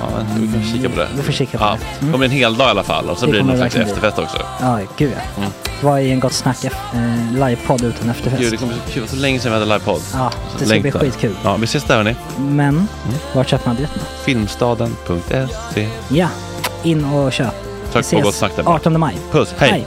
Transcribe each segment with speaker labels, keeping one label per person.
Speaker 1: Ja, vi kan kika på det.
Speaker 2: Mm. Vi får kika på
Speaker 1: Ja,
Speaker 2: det. Mm.
Speaker 1: det kommer bli en hel dag i alla fall och så
Speaker 2: Det
Speaker 1: blir det
Speaker 2: kommer
Speaker 1: någon slags
Speaker 2: verkligen bli.
Speaker 1: efterfest också.
Speaker 2: Ja, gud ja.
Speaker 1: Mm.
Speaker 2: Vad är en gott snack eh, livepodd utan efterfest?
Speaker 1: Gud, det kommer bli så kul. Det var så länge sedan vi hade livepodd.
Speaker 2: Ja, det ska
Speaker 1: Längtar. Mm.
Speaker 2: bli skitkul.
Speaker 1: Ja, vi ses där hörni.
Speaker 2: Men, vart köper man biljetterna?
Speaker 1: Filmstaden.se.
Speaker 2: Ja, in och köp. Vi
Speaker 1: Tack på gott snack där bara.
Speaker 2: 18 maj.
Speaker 1: Puss, hej!
Speaker 2: Hej.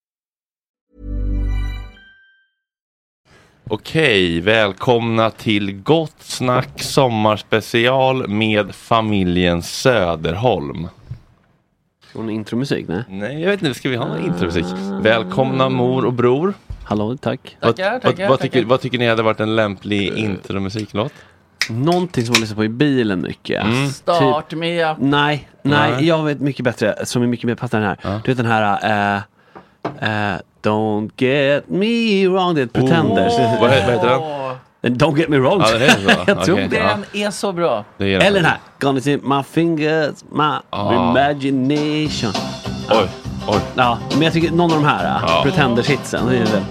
Speaker 1: Okej, välkomna till Gott Snack sommarspecial med familjen Söderholm.
Speaker 3: Från intromusik, nej?
Speaker 1: Nej, jag vet inte, ska vi ha någon intromusik? Välkomna mor och bror.
Speaker 3: Hallå, tack.
Speaker 1: Tackar, vad, tackar, Eh. vad, tycker, vad tycker ni hade varit en lämplig intromusiklåt?
Speaker 3: Någonting som man lyssnar på i bilen mycket. Start typ,
Speaker 4: Mia.
Speaker 3: nej, nej,
Speaker 1: Mm. Nej.
Speaker 3: jag vet mycket bättre, som är mycket mer passar den här. Du vet den här, eh, eh, Don't get me wrong, det är ett Pretenders.
Speaker 1: Vad, he- vad heter den?
Speaker 3: Don't get me wrong.
Speaker 1: Oh. Ja, det är så.
Speaker 3: jag tror
Speaker 1: Okej,
Speaker 3: det.
Speaker 1: ja.
Speaker 4: Den är så bra.
Speaker 1: Det är
Speaker 3: Eller den här. Gonna see my fingers, my
Speaker 1: Ah.
Speaker 3: imagination.
Speaker 1: Oj, oj.
Speaker 3: Ja, men jag tycker någon av de här,
Speaker 1: Ja.
Speaker 3: ja. Pretenders-hitsen. det är väl-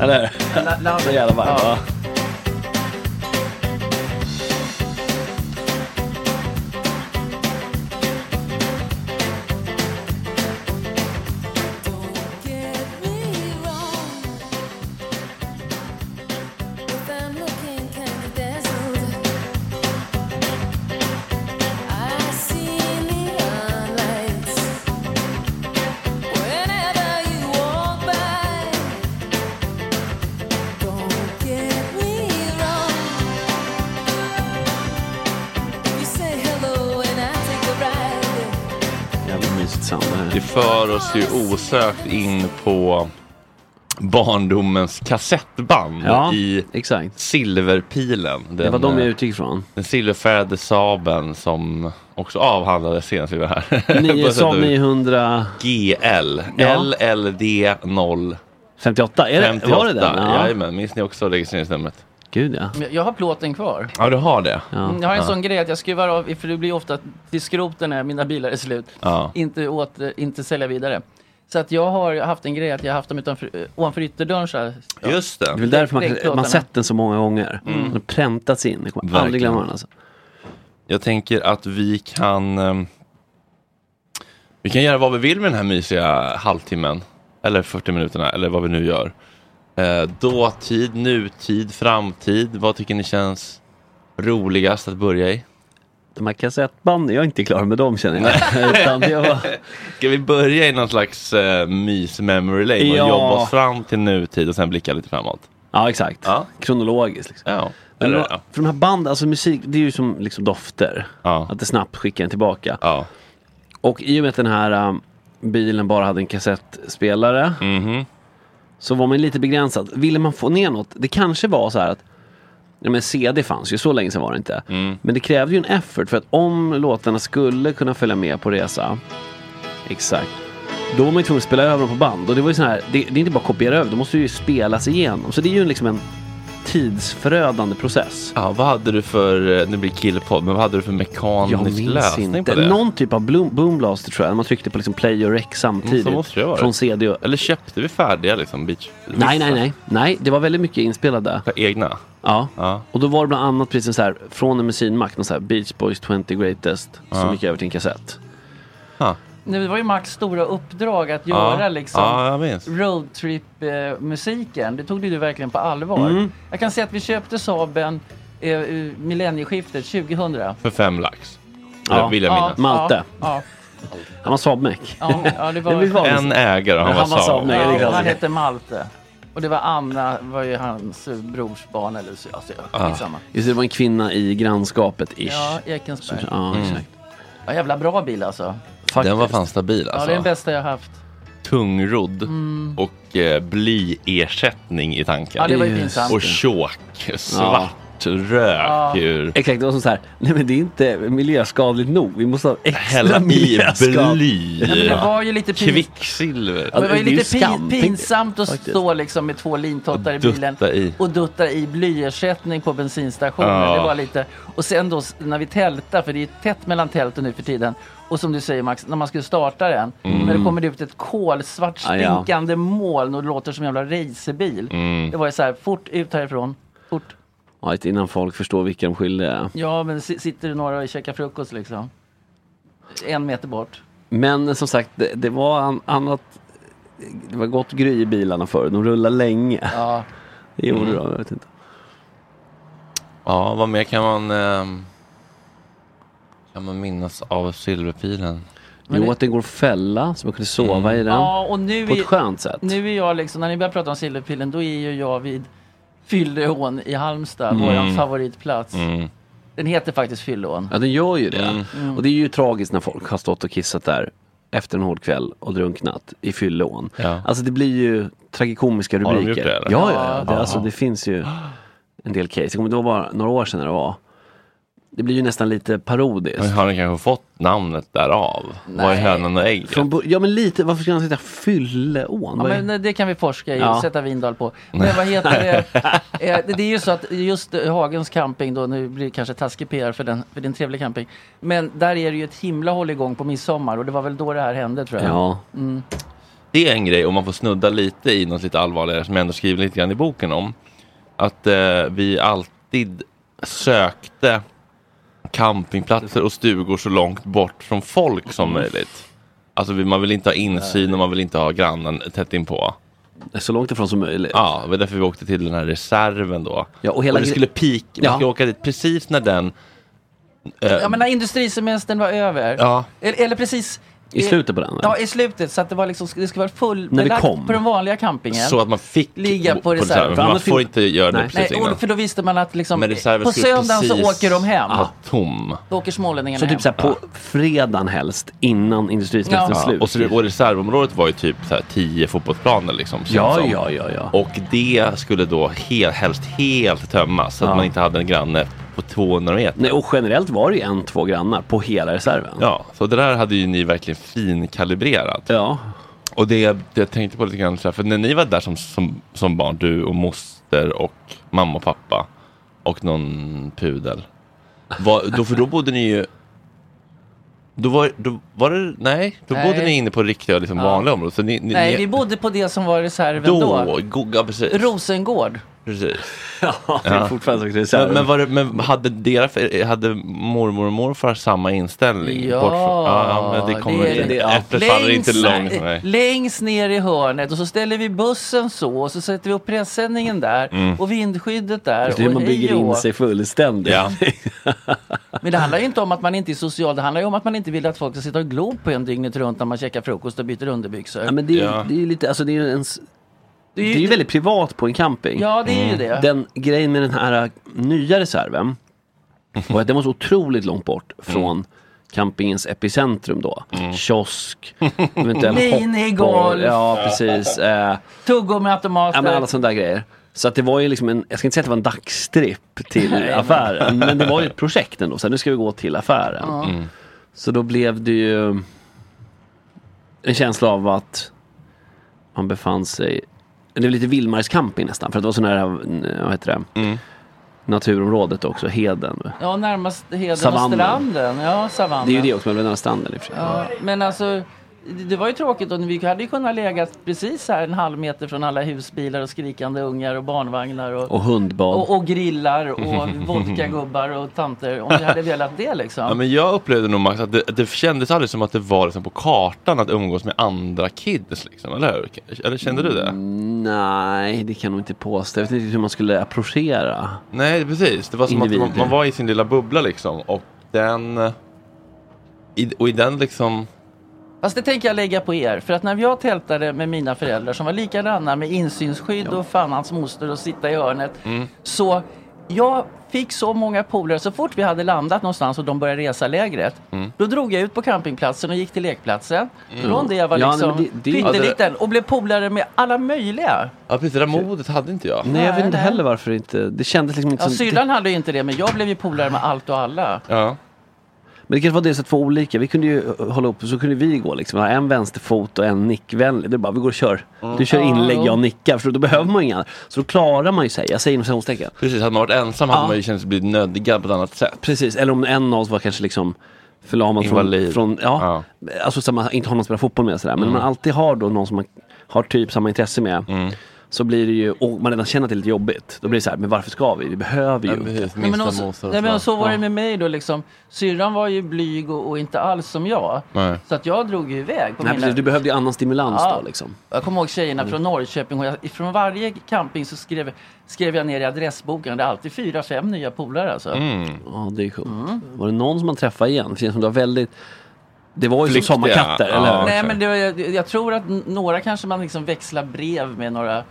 Speaker 1: Eller Så jävla varmt. Ja.
Speaker 3: Jävla mysigt sound det här.
Speaker 1: Det för oss ju osökt in på barndomens kassettband
Speaker 3: Ja,
Speaker 1: i
Speaker 3: exakt.
Speaker 1: silverpilen. Den,
Speaker 3: Det var de jag
Speaker 1: eh,
Speaker 3: utgick från.
Speaker 1: den silverfärgade Saben som också avhandlades senast vi var här. På
Speaker 3: Nio-
Speaker 1: sätt och
Speaker 3: Saab
Speaker 1: vis.
Speaker 3: 900...
Speaker 1: GL,
Speaker 3: Ja.
Speaker 1: LLD 058.
Speaker 3: 58? Är det, var det den? Ja.
Speaker 1: Jajamän, minns ni också registreringsnumret?
Speaker 3: Gud ja.
Speaker 4: Jag- Jag har plåten kvar.
Speaker 1: Ja, du har det.
Speaker 3: ja.
Speaker 4: Mm, Jag har en sån grej att jag skruvar av, för det blir ofta till skroten när mina bilar är slut.
Speaker 1: Ja.
Speaker 4: Inte, åter, inte sälja vidare. Så att jag har haft en grej att jag har haft dem utanför, eh, ovanför ytterdörren så här.
Speaker 1: Just
Speaker 3: Det är
Speaker 1: det.
Speaker 3: väl därför man,
Speaker 4: Direkt låtarna.
Speaker 3: kan- man sett den så många gånger. Den har präntats in. Jag kommer aldrig
Speaker 1: Mm. Verkligen.
Speaker 3: glömma den alltså.
Speaker 1: Jag tänker att vi kan ehm, Vi kan göra vad vi vill med den här mysiga halvtimmen. Eller 40 minuterna, eller vad vi nu gör. Eh, dåtid, nutid, framtid. Vad tycker ni känns roligast att börja i?
Speaker 3: De här kassettbanden, jag är inte klar med dem känner jag. Utan det var,
Speaker 1: Ska vi börja i någon slags eh, mys-memory lane och
Speaker 3: Ja.
Speaker 1: jobba oss fram till nutid och sen blicka lite framåt?
Speaker 3: ja exakt.
Speaker 1: Ja.
Speaker 3: Kronologiskt. Liksom.
Speaker 1: Ja,
Speaker 3: Men
Speaker 1: eller,
Speaker 3: det var-
Speaker 1: ja.
Speaker 3: För de här banden, alltså musik, det är ju som liksom dofter.
Speaker 1: Ja.
Speaker 3: Att det snabbt skickar en tillbaka.
Speaker 1: ja.
Speaker 3: Och i och med att den här um, bilen bara hade en kassettspelare så var man lite begränsad. Ville man få ner något, det kanske var så här att ja, men CD fanns ju, så länge sedan var det inte. Men det krävde ju en effort för att om låtarna skulle kunna följa med på resa, exakt, då var man ju tvungen att spela över dem på band. Och det var ju så här, det, det är inte bara att kopiera över, de måste ju spelas igenom. Så det är ju liksom en tidsförödande process.
Speaker 1: Ja, vad hade du för, eh, nu blir det killpodd, men vad hade du för mekanisk lösning på det?
Speaker 3: Någon typ av bloom, boomblaster tror jag. Man tryckte på liksom play och rec samtidigt.
Speaker 1: Mm, Så måste det vara.
Speaker 3: Från CD och...
Speaker 1: Eller köpte vi färdiga liksom? Beach?
Speaker 3: Nej, nej, nej. Nej, det var väldigt mycket inspelade.
Speaker 1: Egna?
Speaker 3: Ja.
Speaker 1: Ja.
Speaker 3: Och då var det bland annat precis en så här, från en bensinmack, någon så här Beach Boys 20 Greatest, som gick över till en kassett.
Speaker 4: Nu var ju Max stora uppdrag att göra
Speaker 1: Ja.
Speaker 4: liksom
Speaker 1: ja, jag minns.
Speaker 4: roadtrip-musiken. Det tog du verkligen på allvar.
Speaker 3: Mm.
Speaker 4: Jag kan säga att vi köpte Saaben eh, ur millennieskiftet 2000.
Speaker 1: För fem lax.
Speaker 3: Ja.
Speaker 1: Ja. Vill jag minnas.
Speaker 3: Malte.
Speaker 4: Ja,
Speaker 3: Han var Saab-meck.
Speaker 4: ja, ja, ja, det var...
Speaker 3: Det var
Speaker 1: En ägare och han,
Speaker 3: Han var
Speaker 1: var Saab.
Speaker 3: Saab. Nej, det är
Speaker 4: ja,
Speaker 3: klart.
Speaker 4: han hette Malte. Och det var Anna, var ju hans eh, brors barn eller så. Alltså, skitsamma.
Speaker 3: Just det, det var en kvinna i grannskapet, ish.
Speaker 4: Ja,
Speaker 3: Ja,
Speaker 4: Ekensberg.
Speaker 1: Mm.
Speaker 3: exakt.
Speaker 4: Ja, jävla bra bil alltså.
Speaker 1: Den var fan stabil
Speaker 4: Ja,
Speaker 1: alltså.
Speaker 4: det är den bästa jag haft.
Speaker 1: Tungrodd och eh, blyersättning i tanken.
Speaker 4: Ja, det var ju
Speaker 3: Just.
Speaker 4: pinsamt.
Speaker 1: Och tjåk, svart rök ur.
Speaker 3: Exakt, det var som så här, nej men det är inte miljöskadligt nog, vi måste ha extra
Speaker 1: Hälla i
Speaker 3: miljöskadligt.
Speaker 1: bly.
Speaker 4: Men det var ju lite pinsamt.
Speaker 1: Kvicksilver.
Speaker 4: Men det var ju
Speaker 3: Det är ju
Speaker 4: lite
Speaker 3: skam,
Speaker 4: pin,
Speaker 3: tänk dig,
Speaker 4: pinsamt att
Speaker 3: faktiskt.
Speaker 4: stå liksom med två lintottar i
Speaker 1: Och dutta
Speaker 4: bilen
Speaker 1: i.
Speaker 4: och dutta i blyersättning på bensinstationen.
Speaker 1: Ja.
Speaker 4: Det var lite... Och sen då s- när vi tältar, för det är tätt mellan tälten nu för tiden. Och som du säger Max, när man skulle starta den, när det kommer ut ett kolsvart
Speaker 3: Ah, ja.
Speaker 4: stinkande moln och det låter som en jävla racerbil. Det var ju så här, fort ut härifrån, fort.
Speaker 3: Ja, inte innan folk förstår vilka de skyldiga är.
Speaker 4: Ja, men si- sitter du några och käkar frukost liksom. En meter bort.
Speaker 3: Men som sagt, det, det var an, annat, det var gott gry i bilarna förr, de rullade länge.
Speaker 4: Ja.
Speaker 3: Det gjorde
Speaker 4: Mm.
Speaker 3: de, jag vet inte.
Speaker 1: Ja, vad mer kan man, ehm, kan man minnas av silverpilen?
Speaker 4: Men
Speaker 3: jo,
Speaker 4: det-
Speaker 3: att det går fälla, så man kunde sova i den.
Speaker 4: ja, och nu
Speaker 3: på ett
Speaker 4: är-
Speaker 3: skönt sätt.
Speaker 4: Nu är jag liksom, när ni börjar prata om Silverpillen, då är ju jag vid Fylleån i Halmstad,
Speaker 3: Mm.
Speaker 4: våran favoritplats. Den heter faktiskt Fylleån.
Speaker 3: Ja, den gör ju det.
Speaker 4: Mm.
Speaker 3: Och det är ju tragiskt när folk har stått och kissat där efter en hård kväll och drunknat i fylleån.
Speaker 1: Ja.
Speaker 3: Alltså det blir ju tragikomiska
Speaker 1: de
Speaker 3: rubriker.
Speaker 1: gjort det, eller?
Speaker 3: Ja, ja, ja.
Speaker 4: Ja.
Speaker 3: Det, alltså, det finns ju en del case. Jag kommer inte ihåg bara några år sedan när det var. Det blir ju nästan lite parodiskt.
Speaker 1: Men har den kanske fått namnet därav? Vad är hönan och ägget?
Speaker 3: Från, bo- ja men lite, varför ska han säga fylleån?
Speaker 4: Ja,
Speaker 3: Vad är-
Speaker 4: men det kan vi forska i och
Speaker 3: Ja.
Speaker 4: sätta Vindal på. Men vad heter det? Eh, det- Det är ju så att just eh, Hagens camping då, nu blir det kanske taskig PR för den, för den trevliga camping. Men där är det ju ett himla hålligång på midsommar och det var väl då det här hände tror jag.
Speaker 3: Ja,
Speaker 1: det är en grej, om man får snudda lite i något lite allvarligare som jag ändå skriver lite grann i boken om. Att eh, vi alltid sökte campingplatser och stugor så långt bort från folk som
Speaker 4: Mm.
Speaker 1: möjligt. Alltså vi- man vill inte ha insyn och man vill inte ha grannen tätt inpå.
Speaker 3: Så långt ifrån som möjligt.
Speaker 1: Mm. Ja, det var därför vi åkte till den här reserven då.
Speaker 3: Ja,
Speaker 1: och
Speaker 3: och hela
Speaker 1: det
Speaker 3: gre-
Speaker 1: skulle peak, vi
Speaker 3: Ja.
Speaker 1: skulle åka dit precis när den... eh,
Speaker 4: Ja, men när industrisemestern var över.
Speaker 1: ja.
Speaker 4: Eller, eller precis... eh,
Speaker 3: I slutet på den?
Speaker 4: Ja, i slutet. Så att det, var liksom, det skulle vara
Speaker 3: När vi
Speaker 4: fullbelagt
Speaker 3: kom.
Speaker 4: på den vanliga campingen.
Speaker 1: Så att man fick
Speaker 4: Ligga på
Speaker 1: bo-
Speaker 4: reserv.
Speaker 1: reserven,
Speaker 3: För
Speaker 1: För man
Speaker 3: annars
Speaker 1: får
Speaker 3: fin-
Speaker 1: inte göra det
Speaker 3: Nej.
Speaker 1: precis
Speaker 4: Nej,
Speaker 1: innan.
Speaker 4: och, för då visste man att liksom,
Speaker 1: Men reserven
Speaker 4: på
Speaker 1: skulle
Speaker 4: söndagen så
Speaker 1: precis
Speaker 4: åker de hem.
Speaker 1: vara tom.
Speaker 4: Då åker smålänningarna
Speaker 3: Så
Speaker 4: hem.
Speaker 3: typ såhär på fredagen helst, innan industrisemestern
Speaker 4: Ja.
Speaker 1: Ja.
Speaker 3: slut.
Speaker 1: Och, så, och reservområdet var ju typ så här tio fotbollsplaner liksom. känns
Speaker 3: ja,
Speaker 1: som.
Speaker 3: ja, ja, ja.
Speaker 1: Och det skulle då he- helst helt tömmas så att
Speaker 3: Ja.
Speaker 1: man inte hade en granne på 200 meter.
Speaker 3: Nej, och generellt var det ju en, två grannar på hela reserven.
Speaker 1: Ja, så det där hade ju ni verkligen finkalibrerat.
Speaker 3: Ja.
Speaker 1: Och det, det jag tänkte på lite grann, så här, för när ni var där som, som, som barn, du och moster och mamma och pappa och någon pudel. Var, då, för då bodde ni ju... Då var, då var det... Nej, då
Speaker 4: Nej.
Speaker 1: bodde ni inne på riktiga liksom, vanliga områden. Så ni, ni,
Speaker 4: Nej,
Speaker 1: ni,
Speaker 4: vi bodde på det som var reserven
Speaker 1: då.
Speaker 4: då.
Speaker 1: go- Ja, precis.
Speaker 4: Rosengård.
Speaker 1: precis.
Speaker 3: ja, det är fortfarande sagt reserven.
Speaker 1: Men, men, var det, men hade, deras, hade mormor och morfar samma inställning?
Speaker 4: Ja,
Speaker 1: Bort från- ja, men det kommer...
Speaker 4: det är
Speaker 3: det, ja.
Speaker 1: Äpplet faller inte långt.
Speaker 4: eh,
Speaker 1: Nej.
Speaker 4: längst ner i hörnet och så ställer vi bussen så och så sätter vi upp presenningen där
Speaker 1: Mm.
Speaker 4: och vindskyddet där.
Speaker 3: det är hur
Speaker 4: och
Speaker 3: man
Speaker 4: hej
Speaker 3: bygger
Speaker 4: och
Speaker 3: in
Speaker 4: hå.
Speaker 3: sig fullständigt.
Speaker 1: Ja.
Speaker 4: Men det handlar ju inte om att man inte är social, det handlar ju om att man inte vill att folk ska sitta och glo på en dygnet runt när man käkar frukost och byter underbyxor.
Speaker 3: Ja, men det är ju
Speaker 1: Ja.
Speaker 3: det är ju lite, alltså det är ju en, s-
Speaker 4: det
Speaker 3: det är ju väldigt Mm. privat på en camping.
Speaker 4: Ja, det är ju det.
Speaker 3: Den grejen med den här äh, nya reserven var att den var så otroligt långt bort från campingens epicentrum då. Kiosk, eventuellt
Speaker 4: Minigolf.
Speaker 3: hoppboll, Ja, precis. Eh,
Speaker 4: Tuggummiautomater.
Speaker 3: Ja, men alltså- alla sådana där grejer. Så att det var ju liksom en, jag ska inte säga att det var en dagstripp till affären, men det var ju ett projekt ändå. Så här, nu ska vi gå till affären. Så då blev det ju en känsla av att man befann sig, det var lite vildmarkscamping nästan, för att det var så nära, vad heter det, naturområdet också, Heden.
Speaker 4: Ja, närmast Heden och
Speaker 3: Savannen.
Speaker 4: stranden. Ja, savannen.
Speaker 3: Det är ju det också, men det var nära stranden i och för sig.
Speaker 4: Ja, men alltså, det det var ju tråkigt och vi hade ju kunnat lägga precis här en halv meter från alla husbilar och skrikande ungar och barnvagnar och,
Speaker 3: Och hundbad.
Speaker 4: och, och grillar och vodkagubbar och tanter om vi hade velat det
Speaker 1: Ja,
Speaker 4: liksom.
Speaker 1: men jag upplevde nog Max att det, det kändes aldrig som att det var liksom på kartan att umgås med andra kids. Liksom, eller hur? Eller kände du det?
Speaker 3: Mm. Nej, det kan jag nog inte påstå. Jag vet inte riktigt hur man skulle approchera.
Speaker 1: Nej, precis. Det var som att
Speaker 3: Individer.
Speaker 1: man, man var i sin lilla bubbla liksom. Och den... I, och i den liksom...
Speaker 4: Fast det tänker jag lägga på er för att när jag tältade med mina föräldrar som var likadana med insynsskydd och fan hans moster och sitta i hörnet
Speaker 3: Mm.
Speaker 4: så jag fick så många polare så fort vi hade landat någonstans och de började resa lägret
Speaker 3: Mm.
Speaker 4: då drog jag ut på campingplatsen och gick till lekplatsen från det jag var
Speaker 3: Ja,
Speaker 4: liksom
Speaker 3: nej, men det- det-
Speaker 4: pytteliten och blev polare med alla möjliga.
Speaker 1: Ja, precis. Det där modet hade inte jag.
Speaker 3: Nej, jag vet inte
Speaker 4: nej.
Speaker 3: heller varför inte. Det kändes liksom inte
Speaker 4: Ja,
Speaker 3: som...
Speaker 4: syrran hade ju inte det men jag blev ju polare med allt och alla.
Speaker 1: Ja.
Speaker 3: Men det kanske var dels att få olika. Vi kunde ju eh, hålla upp, så kunde vi gå liksom. Ha en vänsterfot och en nickvänlig. Det är bara, vi går och kör. Du kör inlägg, jag nickar. För då behöver man ju inga andra. Så då klarar man ju sig. Jag säger inom citationstecken.
Speaker 1: Precis, hade man varit ensam hade man ju känt sig bli nödgad på ett annat sätt.
Speaker 3: Precis, eller om en av oss var kanske liksom förlamad
Speaker 1: Invalid.
Speaker 3: från... från ja, Alltså så att man inte har någon att spela fotboll med och sådär. Men om man alltid har då någon som man har typ samma intresse med. Så blir det ju, och man redan känner att det är lite jobbigt. Då blir det så här, men varför ska vi? Vi behöver ju.
Speaker 1: Ja, precis.
Speaker 4: Nej, men,
Speaker 1: Minsta
Speaker 4: också,
Speaker 1: motstånd.
Speaker 4: nej, men så var det
Speaker 1: Ja.
Speaker 4: med mig då liksom. Syrran var ju blyg och, och inte alls som jag.
Speaker 1: Nej.
Speaker 4: Så att jag drog ju iväg på
Speaker 3: Nej,
Speaker 4: mina...
Speaker 3: precis, du behövde ju annan stimulans
Speaker 4: Ja.
Speaker 3: då liksom.
Speaker 4: Jag kommer ihåg tjejerna från Norrköping och jag, från varje camping så skrev, skrev jag ner i adressboken. Det är alltid fyra, fem nya polare alltså.
Speaker 3: Ja, det är sjukt. Var det någon som man träffade igen? Det känns som det var väldigt... Det var ju
Speaker 1: Flyktiga.
Speaker 3: som sommarkatter,
Speaker 1: Ja.
Speaker 3: eller hur?
Speaker 4: Nej
Speaker 1: okej.
Speaker 4: men det, var- jag, jag tror att n- några kanske man liksom växlar brev med några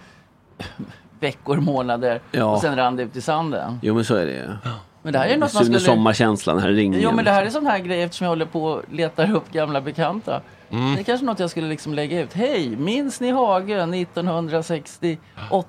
Speaker 4: veckor, månader
Speaker 3: Ja.
Speaker 4: och sen rann det ut i sanden.
Speaker 3: Jo, men så är det ju.
Speaker 4: Men det här är något man
Speaker 3: Sune
Speaker 4: skulle...
Speaker 3: Sommarkänslan, den här ringen.
Speaker 4: Jo men det här är sån här grej eftersom jag håller på och letar upp gamla bekanta. Det är kanske något jag skulle liksom lägga ut. Hej, minns ni Hagön 1968?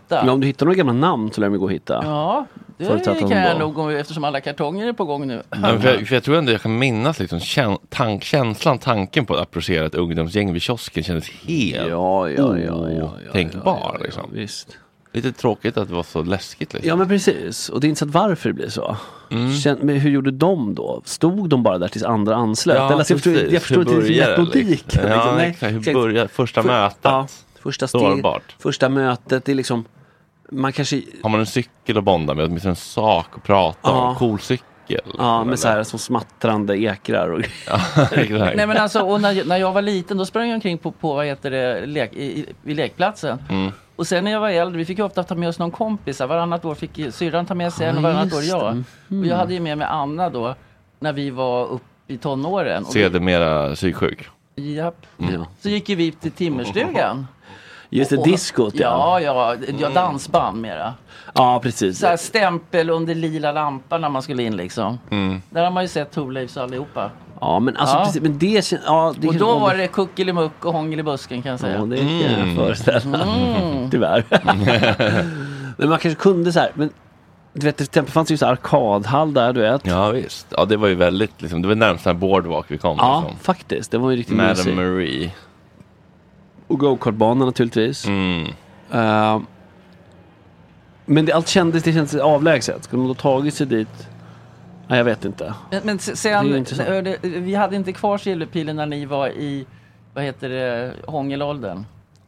Speaker 3: Men om du hittar några gamla namn så lär vi gå och hitta.
Speaker 4: Ja, det
Speaker 3: Förutsatt att de
Speaker 4: kan jag
Speaker 3: var-
Speaker 4: nog eftersom alla kartonger är på gång nu.
Speaker 1: Ja, men för, jag, för jag tror ändå jag kan minnas liksom, kän, tank, känslan, tanken på att approchera ett ungdomsgäng vid kiosken kändes helt
Speaker 3: Ja, ja, ja, ja, ja, ja,
Speaker 1: otänkbar.
Speaker 3: ja, ja,
Speaker 1: liksom.
Speaker 3: Visst.
Speaker 1: Lite tråkigt att det var så läskigt. Liksom.
Speaker 3: Ja men precis, och det är inte så att varför det blir så.
Speaker 1: Mm.
Speaker 3: Känn, men hur gjorde de då? Stod de bara där tills andra anslöt?
Speaker 1: Ja,
Speaker 3: Eller, alltså, jag förstår,
Speaker 1: precis.
Speaker 3: jag förstår
Speaker 1: Hur
Speaker 3: inte riktigt
Speaker 1: börjar det, liksom?
Speaker 3: metodiken.
Speaker 1: Ja,
Speaker 3: liksom. Nej,
Speaker 1: exakt. Hur
Speaker 3: exakt.
Speaker 1: börjar första
Speaker 3: För-
Speaker 1: mötet?
Speaker 3: Ja, första, steg,
Speaker 1: Sårbart.
Speaker 3: första mötet, det är liksom, man kanske,
Speaker 1: Har man en cykel att bonda med, åtminstone en sak att prata
Speaker 3: Ja.
Speaker 1: om, cool cykel.
Speaker 3: ja
Speaker 1: Eller-
Speaker 3: med så här som smattrande ekrar och
Speaker 1: Exakt.
Speaker 4: Nej men alltså, och när, när jag var liten då sprang jag omkring på, på vad heter det, lek, i, i, vid lekplatsen. Och sen när jag var äldre, vi fick ju ofta ta med oss någon kompis. här. Varannat år fick ju syrran ta med sig en och varannat år jag.
Speaker 3: Mm.
Speaker 4: Och jag hade ju med mig Anna då, när vi var upp i tonåren. Och vi,
Speaker 1: Sedermera psyksjuk.
Speaker 4: japp.
Speaker 3: Ja.
Speaker 4: Så gick ju vi till timmerstugan.
Speaker 3: Just det,
Speaker 4: Och-
Speaker 3: diskot ja.
Speaker 4: Ja, ja, ja dansband mera.
Speaker 3: Ja, precis.
Speaker 4: Så här stämpel under lila lampan när man skulle in liksom. Där har man ju sett Thorleifs allihopa.
Speaker 3: Ja, men alltså
Speaker 4: Ja.
Speaker 3: precis, men det kän- ja, det
Speaker 4: Och
Speaker 3: kanske
Speaker 4: då var det kuckelimuck och hångel i busken kan jag säga.
Speaker 3: Ja, det kan jag föreställa mig.
Speaker 4: Mm.
Speaker 3: Tyvärr. men man kanske kunde så här, men du vet, till exempel fanns det ju så här arkadhall där, du vet.
Speaker 1: Ja visst. Ja det var ju väldigt, liksom, det var närmast den här boardwalk vi kom.
Speaker 3: Ja,
Speaker 1: liksom.
Speaker 3: faktiskt. Det var ju riktigt
Speaker 1: Madame
Speaker 3: mysigt.
Speaker 1: Marie.
Speaker 3: Och gokartbanan naturligtvis. Eh, men det, allt kändes, det kändes avlägset. Skulle de då tagit sig dit? Nej, jag vet inte.
Speaker 4: Men, men se-
Speaker 3: Det är
Speaker 4: sen,
Speaker 3: intressant.
Speaker 4: ö, det- vi hade inte kvar silverpilen när ni var i, vad heter det, hångelåldern.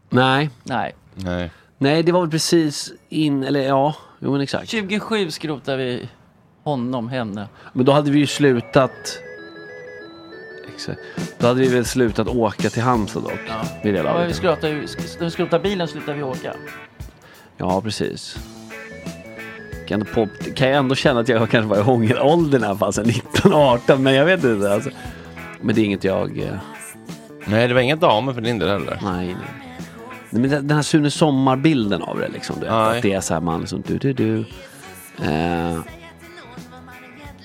Speaker 3: Nej.
Speaker 4: Nej.
Speaker 1: Nej.
Speaker 3: Nej, det var väl precis in, eller ja, jo men exakt.
Speaker 4: 27 skrotar vi honom, henne.
Speaker 3: Men då hade vi ju slutat... Exakt. Då hade vi väl slutat åka till Halmstad dock.
Speaker 4: Ja.
Speaker 3: Vid det Mm.
Speaker 4: Ja, vi
Speaker 3: laget.
Speaker 4: skrotar, ju- sk- när vi skrotar bilen slutar vi åka.
Speaker 3: Ja, precis. Kan jag, ändå på, kan jag ändå känna att jag kanske var i hångelåldern i alla fall, sen 19-18, men jag vet inte. Alltså. Men det är inget jag... eh,
Speaker 1: Nej det var inga damer för din del heller.
Speaker 3: Nej, nej. nej men den den här Sune Sommar-bilden av det liksom. Du vet,
Speaker 1: Nej.
Speaker 3: att det är så här man liksom du, du, du. Eh,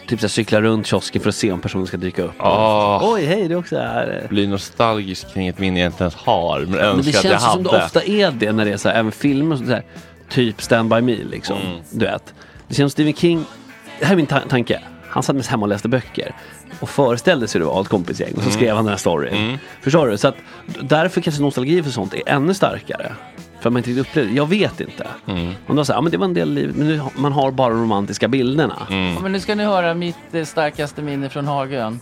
Speaker 3: typ så här cykla runt kiosken för att se om personen ska dyka upp.
Speaker 1: Ah.
Speaker 3: Oj, hej, du är också här.
Speaker 1: Blir nostalgisk kring ett minne jag inte ens har men önskar
Speaker 3: Men det
Speaker 1: att jag
Speaker 3: känns ju
Speaker 1: hade.
Speaker 3: som det ofta är det när det är så här, även filmer och så här, typ Stand By Me liksom.
Speaker 1: Mm.
Speaker 3: Du vet. Det känns Stephen King, det här är min ta- tanke. Han satt mest hemma och läste böcker och föreställde sig hur det var ett kompisgäng
Speaker 1: Mm.
Speaker 3: och så skrev han den här storyn. Förstår du? Så att d- därför kanske nostalgi för sånt är ännu starkare. För att man inte riktigt upplevde det. Jag vet inte. Mm. Man då säger, ja men det var en del av livet, men nu, har- man har bara de romantiska bilderna.
Speaker 1: Mm.
Speaker 4: Ja, Men nu ska ni höra mitt eh, starkaste minne från Hagön.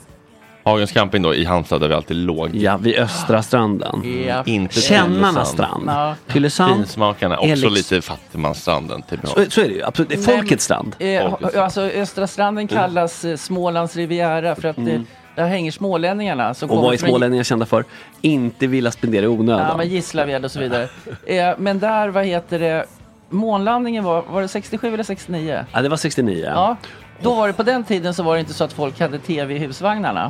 Speaker 1: Hagens camping då i Halmstad där vi alltid låg.
Speaker 3: Ja, vid Östra stranden.
Speaker 1: Mm.
Speaker 4: Ja.
Speaker 1: Inte
Speaker 3: Kännarnas
Speaker 1: Tylösand.
Speaker 3: strand.
Speaker 4: Ja.
Speaker 3: Tylösand.
Speaker 1: Finsmakarna, också
Speaker 3: Är liksom-
Speaker 1: lite fattigmansstranden. Typ.
Speaker 3: Så, så är det ju, absolut. Det är
Speaker 4: Nej,
Speaker 3: folkets strand.
Speaker 4: Eh,
Speaker 1: Folkets
Speaker 4: ha- alltså, Östra
Speaker 3: Mm.
Speaker 4: stranden kallas eh, Smålands riviera för att det, där hänger smålänningarna. Som
Speaker 3: Och
Speaker 4: kommer
Speaker 3: vad är
Speaker 4: från-
Speaker 3: smålänningar kända för? Inte vilja spendera i onödan.
Speaker 4: Ja, men Gislaved och så vidare. Eh, men där, vad heter det, månlandningen var, var det 67 eller 69?
Speaker 3: Ja, det var 69.
Speaker 4: Ja. Då var det på den tiden så var det inte så att folk hade tv i husvagnarna.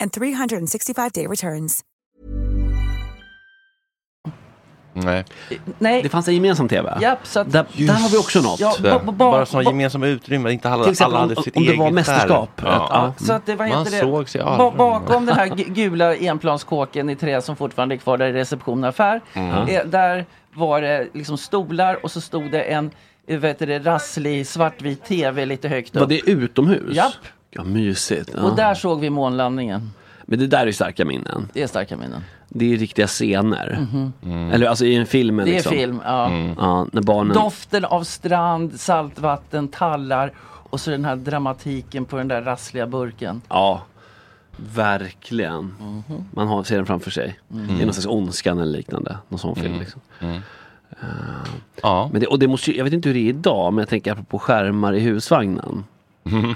Speaker 5: and 365-day returns.
Speaker 1: Nej.
Speaker 4: Nej,
Speaker 3: Det fanns en gemensam TV.
Speaker 4: Japp, så att-
Speaker 3: där, där har vi också något.
Speaker 4: Ja,
Speaker 1: Där.
Speaker 4: ba- ba-
Speaker 1: Bara sådana
Speaker 4: ba-
Speaker 1: gemensamma utrymmen. Inte alla,
Speaker 3: Till exempel
Speaker 1: alla hade
Speaker 3: om-
Speaker 1: sitt
Speaker 3: om det
Speaker 1: eget
Speaker 3: var
Speaker 1: där.
Speaker 3: mästerskap,
Speaker 1: Ja.
Speaker 3: att- ja.
Speaker 4: Så att det, vad heter
Speaker 1: Man
Speaker 4: det?
Speaker 1: såg sig
Speaker 4: Ba-
Speaker 1: aldrig.
Speaker 4: bakom den här gu- gula enplanskåken i trä som fortfarande är kvar där i reception och affär. Eh, där var det liksom stolar och så stod det en eh, vad heter det, rasslig svartvit tv lite högt
Speaker 3: Var
Speaker 4: upp.
Speaker 3: det Ah. utomhus?
Speaker 4: Japp.
Speaker 3: Ja, mysigt. Ja.
Speaker 4: Och där såg vi månlandningen.
Speaker 3: Men det där är ju starka minnen.
Speaker 4: Det är starka minnen.
Speaker 3: Det är ju riktiga scener.
Speaker 1: Mm.
Speaker 3: Eller alltså i en film.
Speaker 4: Mhm. Det är
Speaker 3: liksom.
Speaker 4: film. Ja.
Speaker 3: Ja, när barnen...
Speaker 4: Doften av strand, saltvatten, tallar och så den här dramatiken på den där rassliga burken.
Speaker 3: Ja, verkligen.
Speaker 4: Mhm.
Speaker 3: Man har, ser den framför sig.
Speaker 4: Mm.
Speaker 3: Det är någon slags Ondskan eller liknande. Någon sån film.
Speaker 1: Mm.
Speaker 3: Liksom.
Speaker 1: Ja.
Speaker 3: Men det, och det måste, ju- jag vet inte hur det är idag, men jag tänker apropå skärmar i husvagnen.
Speaker 1: Mhm.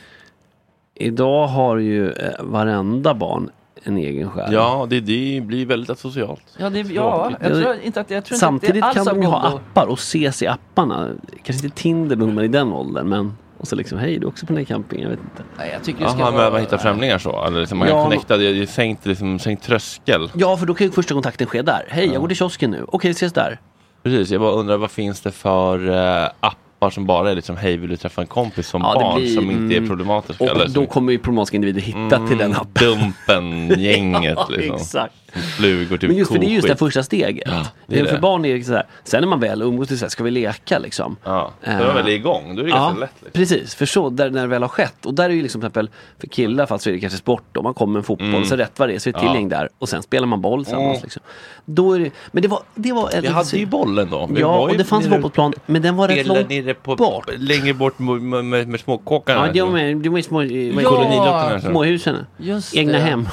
Speaker 3: Idag har ju eh, varenda barn en egen skärm.
Speaker 1: ja, det, det blir väldigt asocialt.
Speaker 4: Ja, det, ja jag
Speaker 3: Ja,
Speaker 4: tror inte att, jag tror inte att det
Speaker 3: Samtidigt
Speaker 4: är alls
Speaker 3: kan
Speaker 4: av
Speaker 3: de ju ha
Speaker 4: godo.
Speaker 3: appar och ses i apparna. Kanske inte Tinder när man är i den åldern, men och så liksom, hej du är också på den här campingen, jag vet inte.
Speaker 4: Nej, jag tycker det ska
Speaker 1: Jaha,
Speaker 4: vara...
Speaker 1: men man hittar främlingar så? Eller liksom man
Speaker 3: Ja,
Speaker 1: kan
Speaker 3: men-
Speaker 1: connecta, det är sänkt, liksom, sänkt tröskel.
Speaker 3: Ja, för då kan ju första kontakten ske där. Hej, jag går till kiosken nu. Okej, ses där.
Speaker 1: Precis, jag bara undrar vad finns det för eh, appar som bara är liksom hej vill du träffa en kompis som
Speaker 3: Ja, det
Speaker 1: barn
Speaker 3: blir-
Speaker 1: som inte är
Speaker 3: mm.
Speaker 1: problematiska?
Speaker 3: Och
Speaker 1: eller
Speaker 3: då
Speaker 1: som-
Speaker 3: kommer ju problematiska individer hitta
Speaker 1: Mm.
Speaker 3: till den appen.
Speaker 1: Dumpen-gänget
Speaker 3: Ja,
Speaker 1: liksom.
Speaker 3: exakt.
Speaker 1: Flugor, typ
Speaker 3: Men just för det är just det
Speaker 1: koskit.
Speaker 3: första steget.
Speaker 1: Ja, det
Speaker 3: det
Speaker 1: är
Speaker 3: är för
Speaker 1: det.
Speaker 3: barn är det så här, sen när man väl umgås, det är så här, ska vi leka liksom?
Speaker 1: Ja, när man väl är igång, då är det
Speaker 3: Ja,
Speaker 1: ganska lätt. Liksom.
Speaker 3: precis. För så, där, när det väl har skett. Och där är ju liksom till exempel, för killar fast så är det kanske sport då. Man kommer med en fotboll, så rätt vad det är så är det ett till gäng där. Och sen spelar man boll tillsammans. Liksom. Då är det, men det var... Det var
Speaker 1: Vi hade ju bollen då. Vi
Speaker 3: Ja,
Speaker 1: var ju
Speaker 3: och det fanns
Speaker 1: nere-
Speaker 3: fotbollsplan, men den var rätt
Speaker 1: Eller
Speaker 3: långt
Speaker 1: nere på,
Speaker 3: bort.
Speaker 1: Längre bort med, med, med, med småkåkarna.
Speaker 3: Ja, det var med, det var ju små,
Speaker 4: Ja,
Speaker 1: Kolonilotterna, kanske.
Speaker 3: småhusen.
Speaker 4: Just
Speaker 3: Egna
Speaker 4: det.
Speaker 3: hem.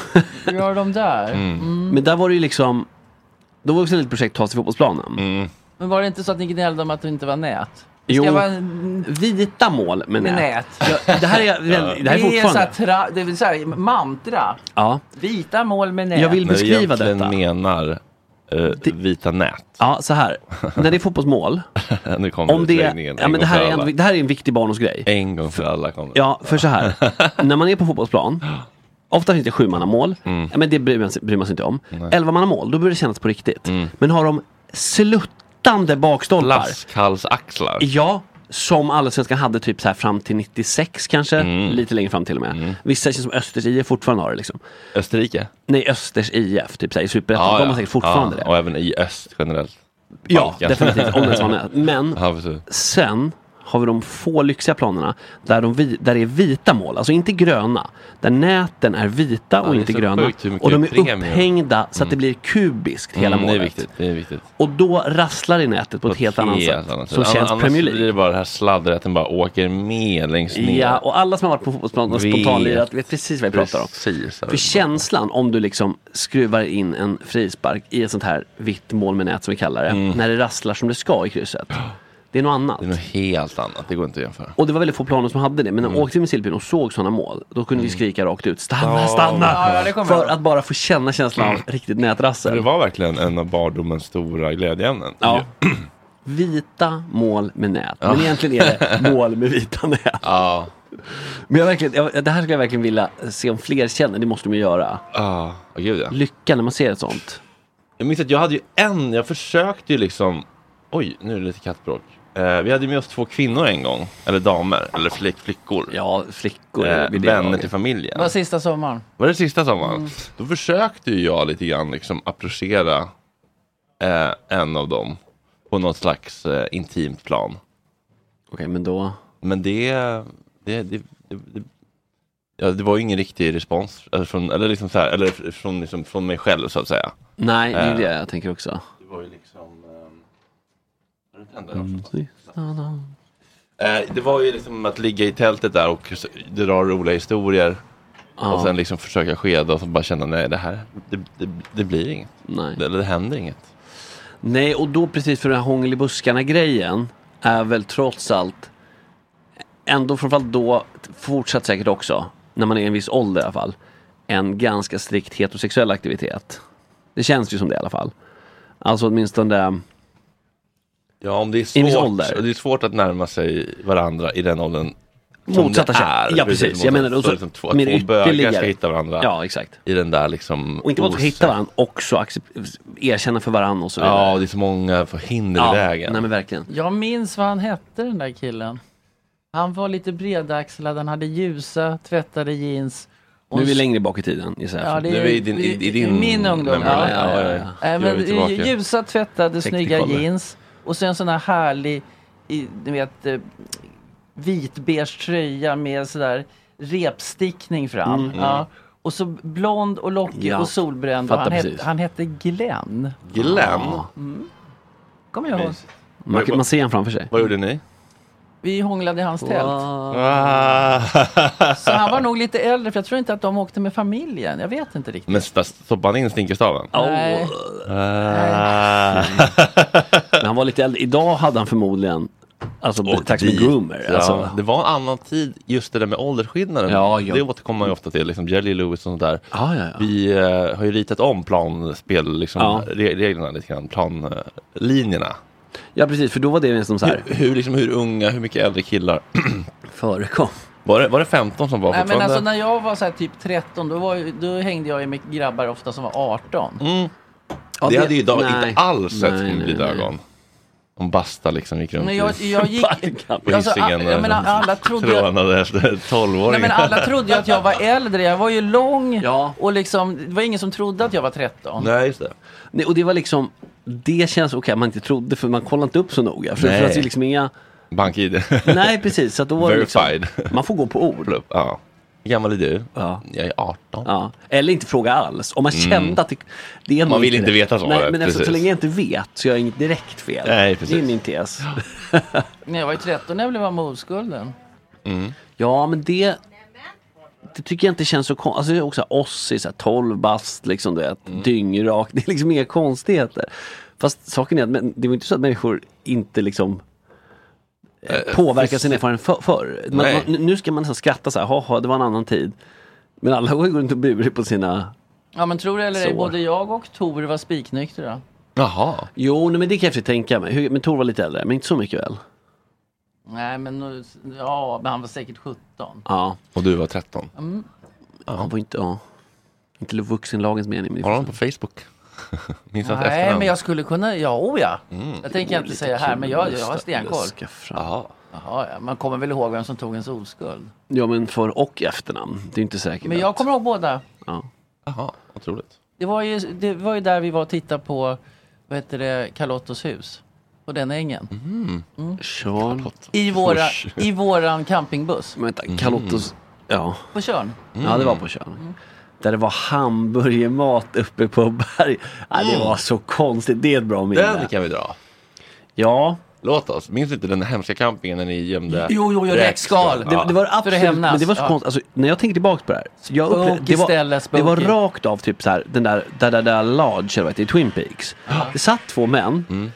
Speaker 3: Mm.
Speaker 4: Gör de där?
Speaker 3: Men där var det ju liksom, då var det också ett litet projekt ta sig till fotbollsplanen.
Speaker 4: Men var det inte så att ni gnällde om att det inte var nät? Det
Speaker 3: Jo.
Speaker 4: Ska vara n-
Speaker 3: Vita mål med
Speaker 4: med
Speaker 3: nät.
Speaker 4: nät.
Speaker 3: Ja, det här är, jag- det här är
Speaker 4: Det är så här,
Speaker 3: fortfarande...
Speaker 4: tra, det är så här mantra.
Speaker 3: Ja,
Speaker 4: Vita mål med nät.
Speaker 3: jag vill
Speaker 1: När du
Speaker 3: beskriva
Speaker 1: egentligen
Speaker 3: detta.
Speaker 1: menar eh, vita nät.
Speaker 3: Ja, så här. När det är fotbollsmål,
Speaker 1: nu kom
Speaker 3: om det,
Speaker 1: utläggningen,
Speaker 3: ja,
Speaker 1: en
Speaker 3: men det,
Speaker 1: gång
Speaker 3: här
Speaker 1: för
Speaker 3: är
Speaker 1: alla.
Speaker 3: en, det här är en viktig barndomsgrej.
Speaker 1: En gång för alla kom det.
Speaker 3: Ja, för så här. När man är på fotbollsplan, ofta finns det sjumannamål,
Speaker 1: Mm.
Speaker 3: ja, men det bryr man, sig- bryr man sig inte om. Elvamannamål, då börjar det kännas på riktigt.
Speaker 1: Mm.
Speaker 3: Men har de sluttande bakstolpar,
Speaker 1: Flaskhalsaxlar.
Speaker 3: Ja, som Allsvenskan hade typ så här fram till 96 kanske,
Speaker 1: Mm.
Speaker 3: lite längre fram till och med. Vissa känns som Östers IF fortfarande har det liksom.
Speaker 1: Österrike?
Speaker 3: Nej, Östers IF, typ så här, i Superettan, de har säkert fortfarande
Speaker 1: ja,
Speaker 3: det.
Speaker 1: Och även i öst generellt.
Speaker 3: Ja,
Speaker 1: Balkan.
Speaker 3: definitivt, om den som var med. Men
Speaker 1: Ja, precis.
Speaker 3: sen har vi de få lyxiga planerna där, de vi, där det är vita mål, alltså inte gröna. Där näten är vita och
Speaker 1: det är
Speaker 3: inte
Speaker 1: så
Speaker 3: gröna.
Speaker 1: sjukt hur mycket
Speaker 3: Och de är
Speaker 1: premium.
Speaker 3: upphängda så att det blir kubiskt hela
Speaker 1: Mm, det är
Speaker 3: målet.
Speaker 1: viktigt. Det är viktigt.
Speaker 3: Och då rasslar det i nätet på ett helt annat sätt. Som
Speaker 1: Ann-
Speaker 3: känns
Speaker 1: Annars
Speaker 3: Premier
Speaker 1: blir
Speaker 3: League.
Speaker 1: det bara det här sladdret, att den bara åker med längst ner.
Speaker 3: Ja, och alla som har varit på fotbollsplan och
Speaker 1: Vet.
Speaker 3: spontanlirat vet precis vad jag pratar om.
Speaker 1: Precis.
Speaker 3: För känslan om du liksom skruvar in en frispark i ett sånt här vitt mål med nät som vi kallar det, när det rasslar som det ska i krysset. Det är något annat.
Speaker 1: Mm. Det är något helt annat. Det går inte att jämföra.
Speaker 3: Och det var väldigt få planer som hade det, men när vi åkte med Silbyn och såg sådana mål, då kunde vi skrika rakt ut, stanna, stanna!
Speaker 4: Ja, ja, det kommer
Speaker 3: för
Speaker 4: jag ihåg.
Speaker 3: att bara få känna känslan av riktigt nätrassel.
Speaker 1: Det var verkligen en av barndomens stora glädjeämnen.
Speaker 3: Ja. Vita mål med nät, men egentligen är det mål med vita nät.
Speaker 1: Ja.
Speaker 3: Men jag verkligen, jag, det här skulle jag verkligen vilja se om fler känner, det måste de ju göra.
Speaker 1: Ja, åh, gud ja.
Speaker 3: Lycka när man ser ett sånt.
Speaker 1: Jag minns att jag hade ju en, jag försökte ju liksom Oj, nu är det lite kattbråk eh, Vi hade med oss två kvinnor en gång Eller damer, eller flick, flickor
Speaker 3: Ja, flickor.
Speaker 1: eh,
Speaker 3: vid det
Speaker 1: Vänner
Speaker 3: laget.
Speaker 1: till
Speaker 4: Det
Speaker 1: familjen
Speaker 4: var sista sommaren.
Speaker 1: Var det sista sommaren? Då försökte ju jag lite grann liksom approchera eh, En av dem På något slags eh, intimt plan
Speaker 3: Okej, men då...
Speaker 1: Men det Det, det, det, det Ja, det var ju ingen riktig respons, eller från, eller liksom så här, eller från, liksom, från mig själv så att säga.
Speaker 3: Nej, det är det jag tänker också.
Speaker 1: Det var ju liksom... Mm. Eh, det var ju liksom att ligga i tältet där och s- dra roliga historier
Speaker 3: Ja,
Speaker 1: och sen liksom försöka skeda och så bara känna nej det här, det, det, det blir inget.
Speaker 3: nej.
Speaker 1: Eller det händer inget.
Speaker 3: nej, och då precis för den här hångel i buskarna-grejen är väl trots allt ändå framförallt då, fortsatt säkert också, när man är i en viss ålder i alla fall, en ganska strikt heterosexuell aktivitet. Det känns ju som det i alla fall. Alltså åtminstone,
Speaker 1: Ja, om det är
Speaker 3: I en viss
Speaker 1: svårt,
Speaker 3: ålder.
Speaker 1: det är svårt att närma sig varandra i den åldern som
Speaker 3: Motsatta
Speaker 1: det
Speaker 3: kön.
Speaker 1: är.
Speaker 3: Ja, precis.
Speaker 1: motsatt.
Speaker 3: Jag menar,
Speaker 1: så,
Speaker 3: och så-
Speaker 1: liksom två,
Speaker 3: men
Speaker 1: två bögar ska
Speaker 3: ytterligare.
Speaker 1: hitta varandra
Speaker 3: Ja, exakt.
Speaker 1: i den där liksom...
Speaker 3: Och inte bara
Speaker 1: osä-
Speaker 3: hitta varandra, också accep- erkänna för varandra och så vidare.
Speaker 1: Ja, det är så många hinder i vägen.
Speaker 3: Nej men verkligen.
Speaker 4: Jag minns vad han hette den där killen. Han var lite bredaxlad, han hade ljusa, tvättade jeans. och
Speaker 3: Nu är vi
Speaker 4: en
Speaker 3: längre bak i tiden gissar jag.
Speaker 4: Ja, det
Speaker 1: Nu är vi i din, i, i din
Speaker 4: min ungdom.
Speaker 1: memory.
Speaker 4: Ja,
Speaker 1: Ja, ja,
Speaker 3: ja.
Speaker 1: ja.
Speaker 4: Nej,
Speaker 1: Nu är
Speaker 4: Äh, men
Speaker 1: vi tillbaka.
Speaker 4: ljusa tvättade, snygga
Speaker 1: Technicolor.
Speaker 4: jeans och sen sån här härlig, i- du vet, eh, vitbeige tröja med sådär repstickning fram. Ja. Och så blond och lockig
Speaker 3: Ja,
Speaker 4: och solbränd. Och
Speaker 3: fattar
Speaker 4: han, het,
Speaker 3: precis.
Speaker 4: han hette Glenn.
Speaker 1: Glenn,
Speaker 4: Kommer jag ihåg.
Speaker 1: Mysigt.
Speaker 3: Man, man ser han framför sig.
Speaker 1: vad gjorde ni?
Speaker 4: Vi hånglade i hans tält.
Speaker 1: Ah.
Speaker 4: Så han var nog lite äldre för jag tror inte att de åkte med familjen. Jag vet inte riktigt.
Speaker 1: Men st- stoppade han in stinkerstaven?
Speaker 4: Nej.
Speaker 1: Ah.
Speaker 3: Men han var lite äldre. Idag hade han förmodligen alltså,
Speaker 1: Och
Speaker 3: betraktats som en
Speaker 1: dit.
Speaker 3: groomer.
Speaker 1: Ja.
Speaker 3: Alltså,
Speaker 1: Det var en annan tid, just det där med åldersskillnaden.
Speaker 3: Ja, ja.
Speaker 1: Det återkommer man ju ofta till, liksom Jerry Lewis och sånt där.
Speaker 3: Ah, Ja, ja, ja.
Speaker 1: Vi eh, har ju ritat om planspel, liksom,
Speaker 3: Ja.
Speaker 1: re- reglerna lite grann, eh, planlinjerna.
Speaker 3: ja precis, för då var det nästan så här.
Speaker 1: Hur, hur, liksom, hur unga, hur mycket äldre killar?
Speaker 3: Förekom.
Speaker 1: Var det, var det 15 som var
Speaker 4: Nej, men
Speaker 1: fortfarande?
Speaker 4: alltså när jag var så här typ 13 då, var, ju- då hängde jag ju med grabbar ofta som var 18.
Speaker 3: Ja,
Speaker 1: det, hade ju idag
Speaker 3: nej.
Speaker 1: inte alls sett
Speaker 3: Nej,
Speaker 1: med
Speaker 3: nej,
Speaker 1: blida
Speaker 3: nej.
Speaker 1: ögon. Om Basta liksom gick runt
Speaker 4: Men jag,
Speaker 1: i-
Speaker 4: jag gick...
Speaker 1: på
Speaker 4: alltså,
Speaker 1: Hisingen.
Speaker 4: a- jag menar, alla trodde ju-
Speaker 1: Trånade efter 12
Speaker 4: Nej,
Speaker 1: åringar
Speaker 4: men alla trodde ju att jag var äldre. Jag var ju lång
Speaker 3: Ja.
Speaker 4: och liksom, det var ingen som trodde att jag var 13.
Speaker 1: Nej, just det.
Speaker 3: Nej, och det var liksom, det känns okej att man inte trodde för man kollade inte upp så noga. För det
Speaker 1: Nej.
Speaker 3: fanns ju liksom inga,
Speaker 1: BankID.
Speaker 3: nej precis. Så att då var det liksom,
Speaker 1: Verified.
Speaker 3: man får gå på ord.
Speaker 1: ja. Hur gammal är du?
Speaker 3: Ja.
Speaker 1: Jag är 18.
Speaker 3: Ja. Eller inte fråga alls. Om man kände att det, det är nog
Speaker 1: Mm. vill inte
Speaker 3: det.
Speaker 1: veta svaret,
Speaker 3: Nej, men alltså, så
Speaker 1: precis.
Speaker 3: länge jag inte vet så gör jag inget direkt fel.
Speaker 1: Nej, precis.
Speaker 3: Det är min tes.
Speaker 4: När jag var ju 13 när jag blev av med oskulden.
Speaker 3: Ja, men det, det tycker jag inte känns så konstigt. Alltså, det är också Ozzy, så här 12 bast, liksom, du vet, dyngrak. Det är liksom inga konstigheter. Fast saken är att men, det var inte så att människor inte liksom eh, påverkar sin erfarenhet för, förr. Man,
Speaker 1: Nej.
Speaker 3: man, nu ska man nästan skratta så här, haha, det var en annan tid. Men alla går ju runt och burar på sina...
Speaker 4: Ja men tror det eller ej,
Speaker 3: Så.
Speaker 4: både jag och Tor var spiknyktra.
Speaker 1: Jaha.
Speaker 3: Jo, nej, men det kan jag för sig tänka mig. Hur- Men Tor var lite äldre, men inte så mycket väl?
Speaker 4: Nej men, nu- ja, men han var säkert 17.
Speaker 3: Ja,
Speaker 1: Och du var 13.
Speaker 3: han var inte... Ja. Inte vuxenlagens mening. Men det
Speaker 1: Har
Speaker 3: är
Speaker 1: han på Facebook? Minns hans
Speaker 4: Nej
Speaker 1: efternamn?
Speaker 4: men jag skulle kunna, ja oh ja.
Speaker 1: Mm.
Speaker 4: Jag tänker inte säga här men jag, jag har stenkoll.
Speaker 3: Luska fram.
Speaker 1: Jaha.
Speaker 4: Jaha, ja. Man kommer väl ihåg vem som tog ens oskuld.
Speaker 3: Ja men för och efternamn. Det är inte säkert.
Speaker 4: Men jag
Speaker 3: att-
Speaker 4: kommer ihåg båda.
Speaker 3: ja.
Speaker 1: Jaha, otroligt.
Speaker 4: Det var ju, det var ju där vi var och tittade på, vad heter det, Carlottos hus. På den ängen.
Speaker 3: Charlotte.
Speaker 4: I, våra,
Speaker 1: Usch.
Speaker 4: I våran campingbuss.
Speaker 3: Men
Speaker 1: Mm.
Speaker 3: vänta, Carlottos. Ja.
Speaker 4: På Tjörn.
Speaker 3: ja, det var på Tjörn.
Speaker 4: Mm.
Speaker 3: Där det var hamburgermat uppe på berg. Ja, det var så konstigt. Det är ett bra
Speaker 1: Mm. Den
Speaker 3: minne.
Speaker 1: kan vi dra.
Speaker 3: Ja,
Speaker 1: Låt oss. Minns du inte den hemska campingen när ni gömde
Speaker 4: Jo, jo, jo, räkskal.
Speaker 3: det,
Speaker 1: Ja.
Speaker 3: det var absolut,
Speaker 4: hämnas,
Speaker 3: men det var så
Speaker 4: ja.
Speaker 3: konstigt. Alltså, när jag tänker tillbaka på det här. så Jag upple-
Speaker 4: Spooky
Speaker 3: det,
Speaker 4: ställe,
Speaker 3: var, det var
Speaker 4: spooky.
Speaker 3: rakt av typ så här, den där, där, där, där lodge, eller vad heter det, i Twin Peaks. Det satt två män
Speaker 1: Mm.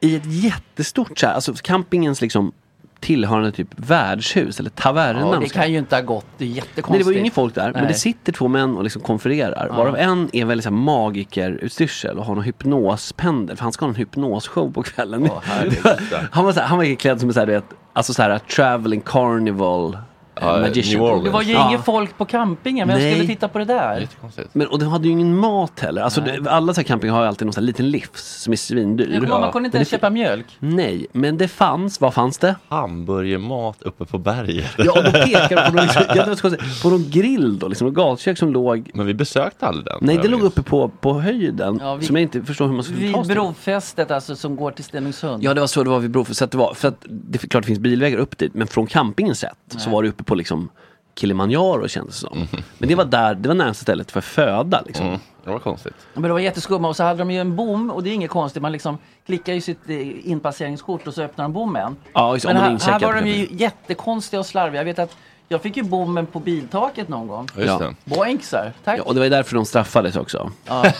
Speaker 3: i ett jättestort så här, alltså campingens liksom tillhörande typ värdshus eller tavernan.
Speaker 4: Ja, det
Speaker 3: ska
Speaker 4: kan ju inte ha gått, det är
Speaker 3: Nej, det
Speaker 4: jättekonstigt.
Speaker 3: var ju ingen folk där, men
Speaker 4: Nej.
Speaker 3: det sitter två män och liksom konfererar. Varav en är väldigt så här magikerutstyrsel och har någon hypnospendel, för han ska ha en hypnosshow på kvällen. han, var så här, han var ju klädd som en så här, du vet, alltså så här traveling carnival eh,
Speaker 1: Ja,
Speaker 3: magician.
Speaker 1: New Orleans.
Speaker 4: Det var ju
Speaker 3: Ja.
Speaker 4: ingen folk på campingen, vem
Speaker 3: Nej.
Speaker 4: skulle titta på det där?
Speaker 1: Jättekonstigt.
Speaker 3: Men, och de hade ju ingen mat heller. Alltså, det, alla så här camping har ju alltid någon så här liten livs som är svindyr.
Speaker 4: Jag kommer ihåg, Man kunde inte ens köpa mjölk.
Speaker 3: Nej, men det fanns, vad fanns det?
Speaker 1: Hamburgermat uppe på berget.
Speaker 3: Ja, och då pekar de på, någon, liksom, ja, det var så konstigt. på någon grill då, liksom, något gatukök som låg
Speaker 1: Men vi besökte aldrig den.
Speaker 3: Nej,
Speaker 1: Jag
Speaker 3: det låg
Speaker 1: minns.
Speaker 3: uppe på, på höjden.
Speaker 4: Ja, vi-
Speaker 3: som jag inte förstår hur man skulle ta
Speaker 4: Vid
Speaker 3: sig till.
Speaker 4: brofästet alltså som går till Stenungsund.
Speaker 3: Ja, det var så det var vid Brofjäll. Så att det var, för att det är klart det finns bilvägar upp dit, men från campingen sett så var det uppe på liksom Kilimanjaro kändes det som. Men det var där, det var närmaste stället för föda liksom.
Speaker 1: Mm, det var konstigt.
Speaker 4: Men det var jätteskumma och så hade de ju en bom och det är inget konstigt. Man liksom klickar ju sitt eh, inpasseringskort och så öppnar de bommen.
Speaker 3: Ja, just det,
Speaker 4: Men
Speaker 3: om man är
Speaker 4: här, här
Speaker 3: incheckad,
Speaker 4: var de ju
Speaker 3: kanske.
Speaker 4: jättekonstiga och slarviga. Jag vet att jag fick ju bommen på biltaket någon gång.
Speaker 1: Ja, just
Speaker 3: Ja.
Speaker 4: Boink så här. tack.
Speaker 3: Ja, och det var ju därför de straffades också.
Speaker 1: det.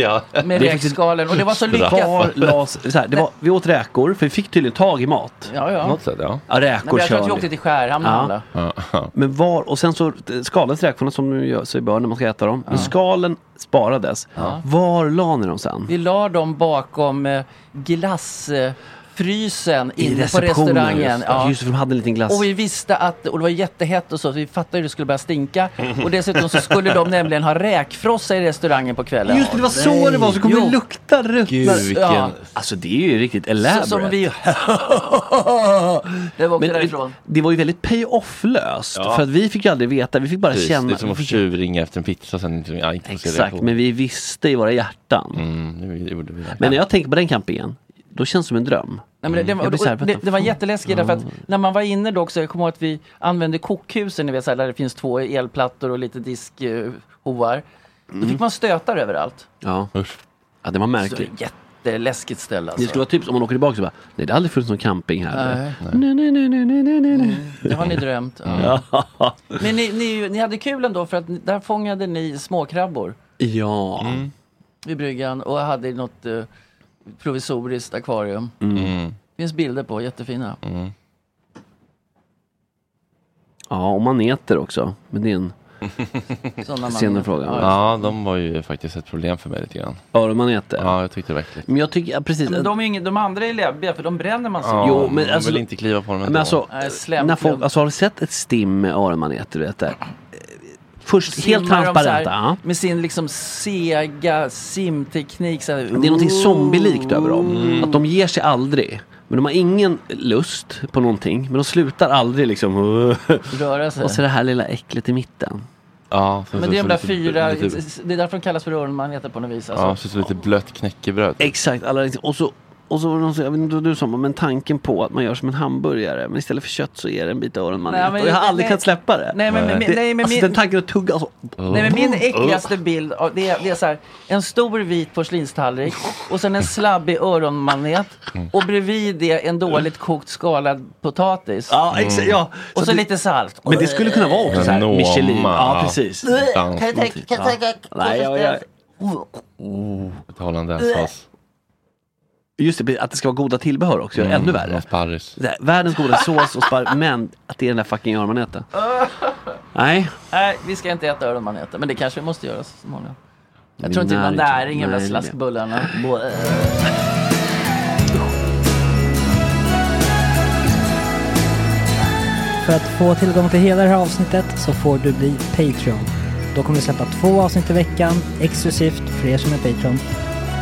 Speaker 1: Ja.
Speaker 4: Med
Speaker 3: det är faktiskt-
Speaker 4: räkskalen och det var så lyckat.
Speaker 3: Kvar las, så här, det var, vi åt räkor, för vi fick tydligen tag i mat.
Speaker 4: Ja, ja.
Speaker 1: På något sätt, ja.
Speaker 3: Ja,
Speaker 4: Nej, men
Speaker 3: räkor
Speaker 4: jag tror att vi
Speaker 3: kör
Speaker 4: åkte
Speaker 3: vi.
Speaker 4: till Skärhamn och
Speaker 3: Ja.
Speaker 4: handlade.
Speaker 3: Men var, och sen så eh, skalades räkorna som nu gör sig bör när man ska äta dem. Men skalen sparades. Var la ni dem sen?
Speaker 4: Vi la dem bakom eh, glassfaten frysen
Speaker 3: I
Speaker 4: inne på
Speaker 3: receptionen,
Speaker 4: restaurangen.
Speaker 3: Just,
Speaker 4: Ja.
Speaker 3: ja. just det, för de hade en liten glass.
Speaker 4: Och vi visste att, och det var jättehett och så, så vi fattade hur det skulle börja stinka. Och dessutom så skulle de nämligen ha räkfrossa i restaurangen på kvällen.
Speaker 3: Just det, det var så det var, så kommer
Speaker 4: Jo.
Speaker 3: det lukta ruttna.
Speaker 1: Gud, vilken...
Speaker 4: Ja.
Speaker 3: Alltså det är ju riktigt elaborate.
Speaker 4: Så som vi... det var också därifrån.
Speaker 3: det var ju väldigt pay-off-löst.
Speaker 1: Ja.
Speaker 3: För att vi fick ju aldrig veta, vi fick bara
Speaker 1: Precis,
Speaker 3: känna.
Speaker 1: det är som att tjuvringa efter en pizza sen inte, ja, inte se
Speaker 3: Exakt,
Speaker 1: reaktion.
Speaker 3: men vi visste i våra hjärtan.
Speaker 1: Mm, det gjorde vi.
Speaker 3: Men när jag tänker på den campen, då känns det som en dröm.
Speaker 4: Nej, men det, det,
Speaker 3: Jag blir så
Speaker 4: var-
Speaker 3: här,
Speaker 4: och,
Speaker 3: vänta,
Speaker 4: det, det var
Speaker 3: fan.
Speaker 4: jätteläskigt därför att när man var inne då också, jag kommer ihåg att vi använde kokhusen, ni vet så här, där det finns två elplattor och lite diskhovar.
Speaker 3: Mm.
Speaker 4: Då fick man stötar överallt.
Speaker 3: Ja,
Speaker 1: Usch.
Speaker 3: ja det var
Speaker 4: Så det är
Speaker 3: märkligt.
Speaker 4: ett jätteläskigt ställe
Speaker 3: Det
Speaker 4: alltså.
Speaker 3: skulle vara typ om man åker tillbaka och bara, nej det har aldrig funnits någon camping här.
Speaker 4: Nej.
Speaker 3: Nej, nej, nej, nej, nej, nej, nej.
Speaker 4: Det har ni drömt. Ja.
Speaker 3: Mm.
Speaker 4: Men ni, ni, ni hade kul ändå för att ni- där fångade ni småkrabbor
Speaker 3: Ja,
Speaker 1: Mm.
Speaker 4: vid bryggan och hade något eh, provisoriskt akvarium.
Speaker 3: Mm.
Speaker 4: finns bilder på, jättefina.
Speaker 3: ja och maneter också. Men det är en
Speaker 4: Sådana
Speaker 3: senare
Speaker 4: man-
Speaker 3: fråga. Ja.
Speaker 1: Ja, de var ju faktiskt ett problem för mig lite grann.
Speaker 3: Öronmaneter.
Speaker 1: Ja, jag tyckte det var äckligt.
Speaker 3: Men jag tycker, ja, precis.
Speaker 4: Men de, är ju inget, de andra är läbbiga för de bränner man sig.
Speaker 1: Ja,
Speaker 3: Jo, men
Speaker 1: man
Speaker 3: alltså-
Speaker 1: vill inte kliva på dem
Speaker 3: Men
Speaker 1: ändå.
Speaker 3: alltså,
Speaker 4: Nej, slämklubb.
Speaker 3: när folk, alltså, har du sett ett stim med öronmaneter? Du vet, där? Först helt
Speaker 4: simmar de så här
Speaker 3: transparenta. ja.
Speaker 4: Med sin liksom sega simteknik. Så här,
Speaker 3: Det är någonting
Speaker 4: Mm.
Speaker 3: zombielikt över dem. Att de ger sig aldrig. Men de har ingen lust på någonting. Men de slutar aldrig liksom.
Speaker 4: Röra sig.
Speaker 3: Och så det här lilla äcklet i mitten.
Speaker 1: ja, så,
Speaker 4: men det är de där
Speaker 1: så lite-
Speaker 4: fyra,
Speaker 3: alltså-
Speaker 1: lite-
Speaker 4: det är därför de kallas för öronmaneter på något vis. Alltså.
Speaker 1: Ja, så, så lite blött knäckebröd.
Speaker 3: Exakt. Alla, liksom- och så, och så var det någon, som- jag vet inte vad du sa, men tanken på att man gör som en hamburgare. Men istället för kött så är det en bit
Speaker 4: Nej,
Speaker 3: öronmanet.
Speaker 4: men-
Speaker 3: Och jag har aldrig
Speaker 4: nej.
Speaker 3: kunnat släppa det.
Speaker 4: Nej men, men,
Speaker 3: det,
Speaker 4: nej, men,
Speaker 3: alltså,
Speaker 4: min,
Speaker 3: den tanken att tugga. Alltså,
Speaker 4: nej men min äckligaste bild av det är, det är så här, en stor vit porslinstallrik och sen en slabbig öronmanet
Speaker 1: Mm.
Speaker 4: och bredvid det en dåligt kokt skalad potatis.
Speaker 3: ja, exakt. Ja.
Speaker 4: Och så,
Speaker 3: att det-
Speaker 4: lite salt.
Speaker 3: Men det skulle kunna vara också
Speaker 1: En
Speaker 3: så här,
Speaker 1: Noma.
Speaker 3: Michelin. Ja, precis.
Speaker 1: Dans,
Speaker 3: Nej, ja, ja.
Speaker 1: hollandaisesås.
Speaker 3: Just det, att det ska vara goda tillbehör också. är Ännu värre.
Speaker 1: och Mm, Sparris.
Speaker 3: Det här, världens godaste sås och sparv, men att det är den där fucking öronmaneten. Nej.
Speaker 4: Nej, vi ska inte äta öronmaneter, men det kanske vi måste göra så småningom. Jag tror inte det var
Speaker 3: Näring.
Speaker 4: näring i de där
Speaker 3: Nej,
Speaker 4: slaskbullarna.
Speaker 2: För att få tillgång till hela det här avsnittet så får du bli Patreon. Då kommer vi släppa två avsnitt i veckan exklusivt för er som är Patreon.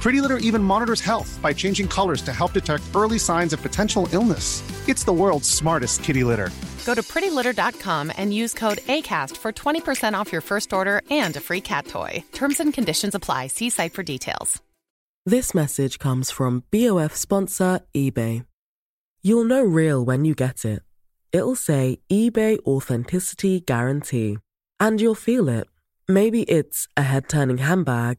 Speaker 6: Pretty Litter even monitors health by changing colors to help detect early signs of potential illness. It's the world's smartest kitty litter.
Speaker 5: Go to prettylitter.com and use code ACAST for 20% off your first order and a free cat toy. Terms and conditions apply. See site for details.
Speaker 7: This message comes from BOF sponsor eBay. You'll know real when you get it. It'll say eBay Authenticity Guarantee. And you'll feel it. Maybe it's a head turning handbag,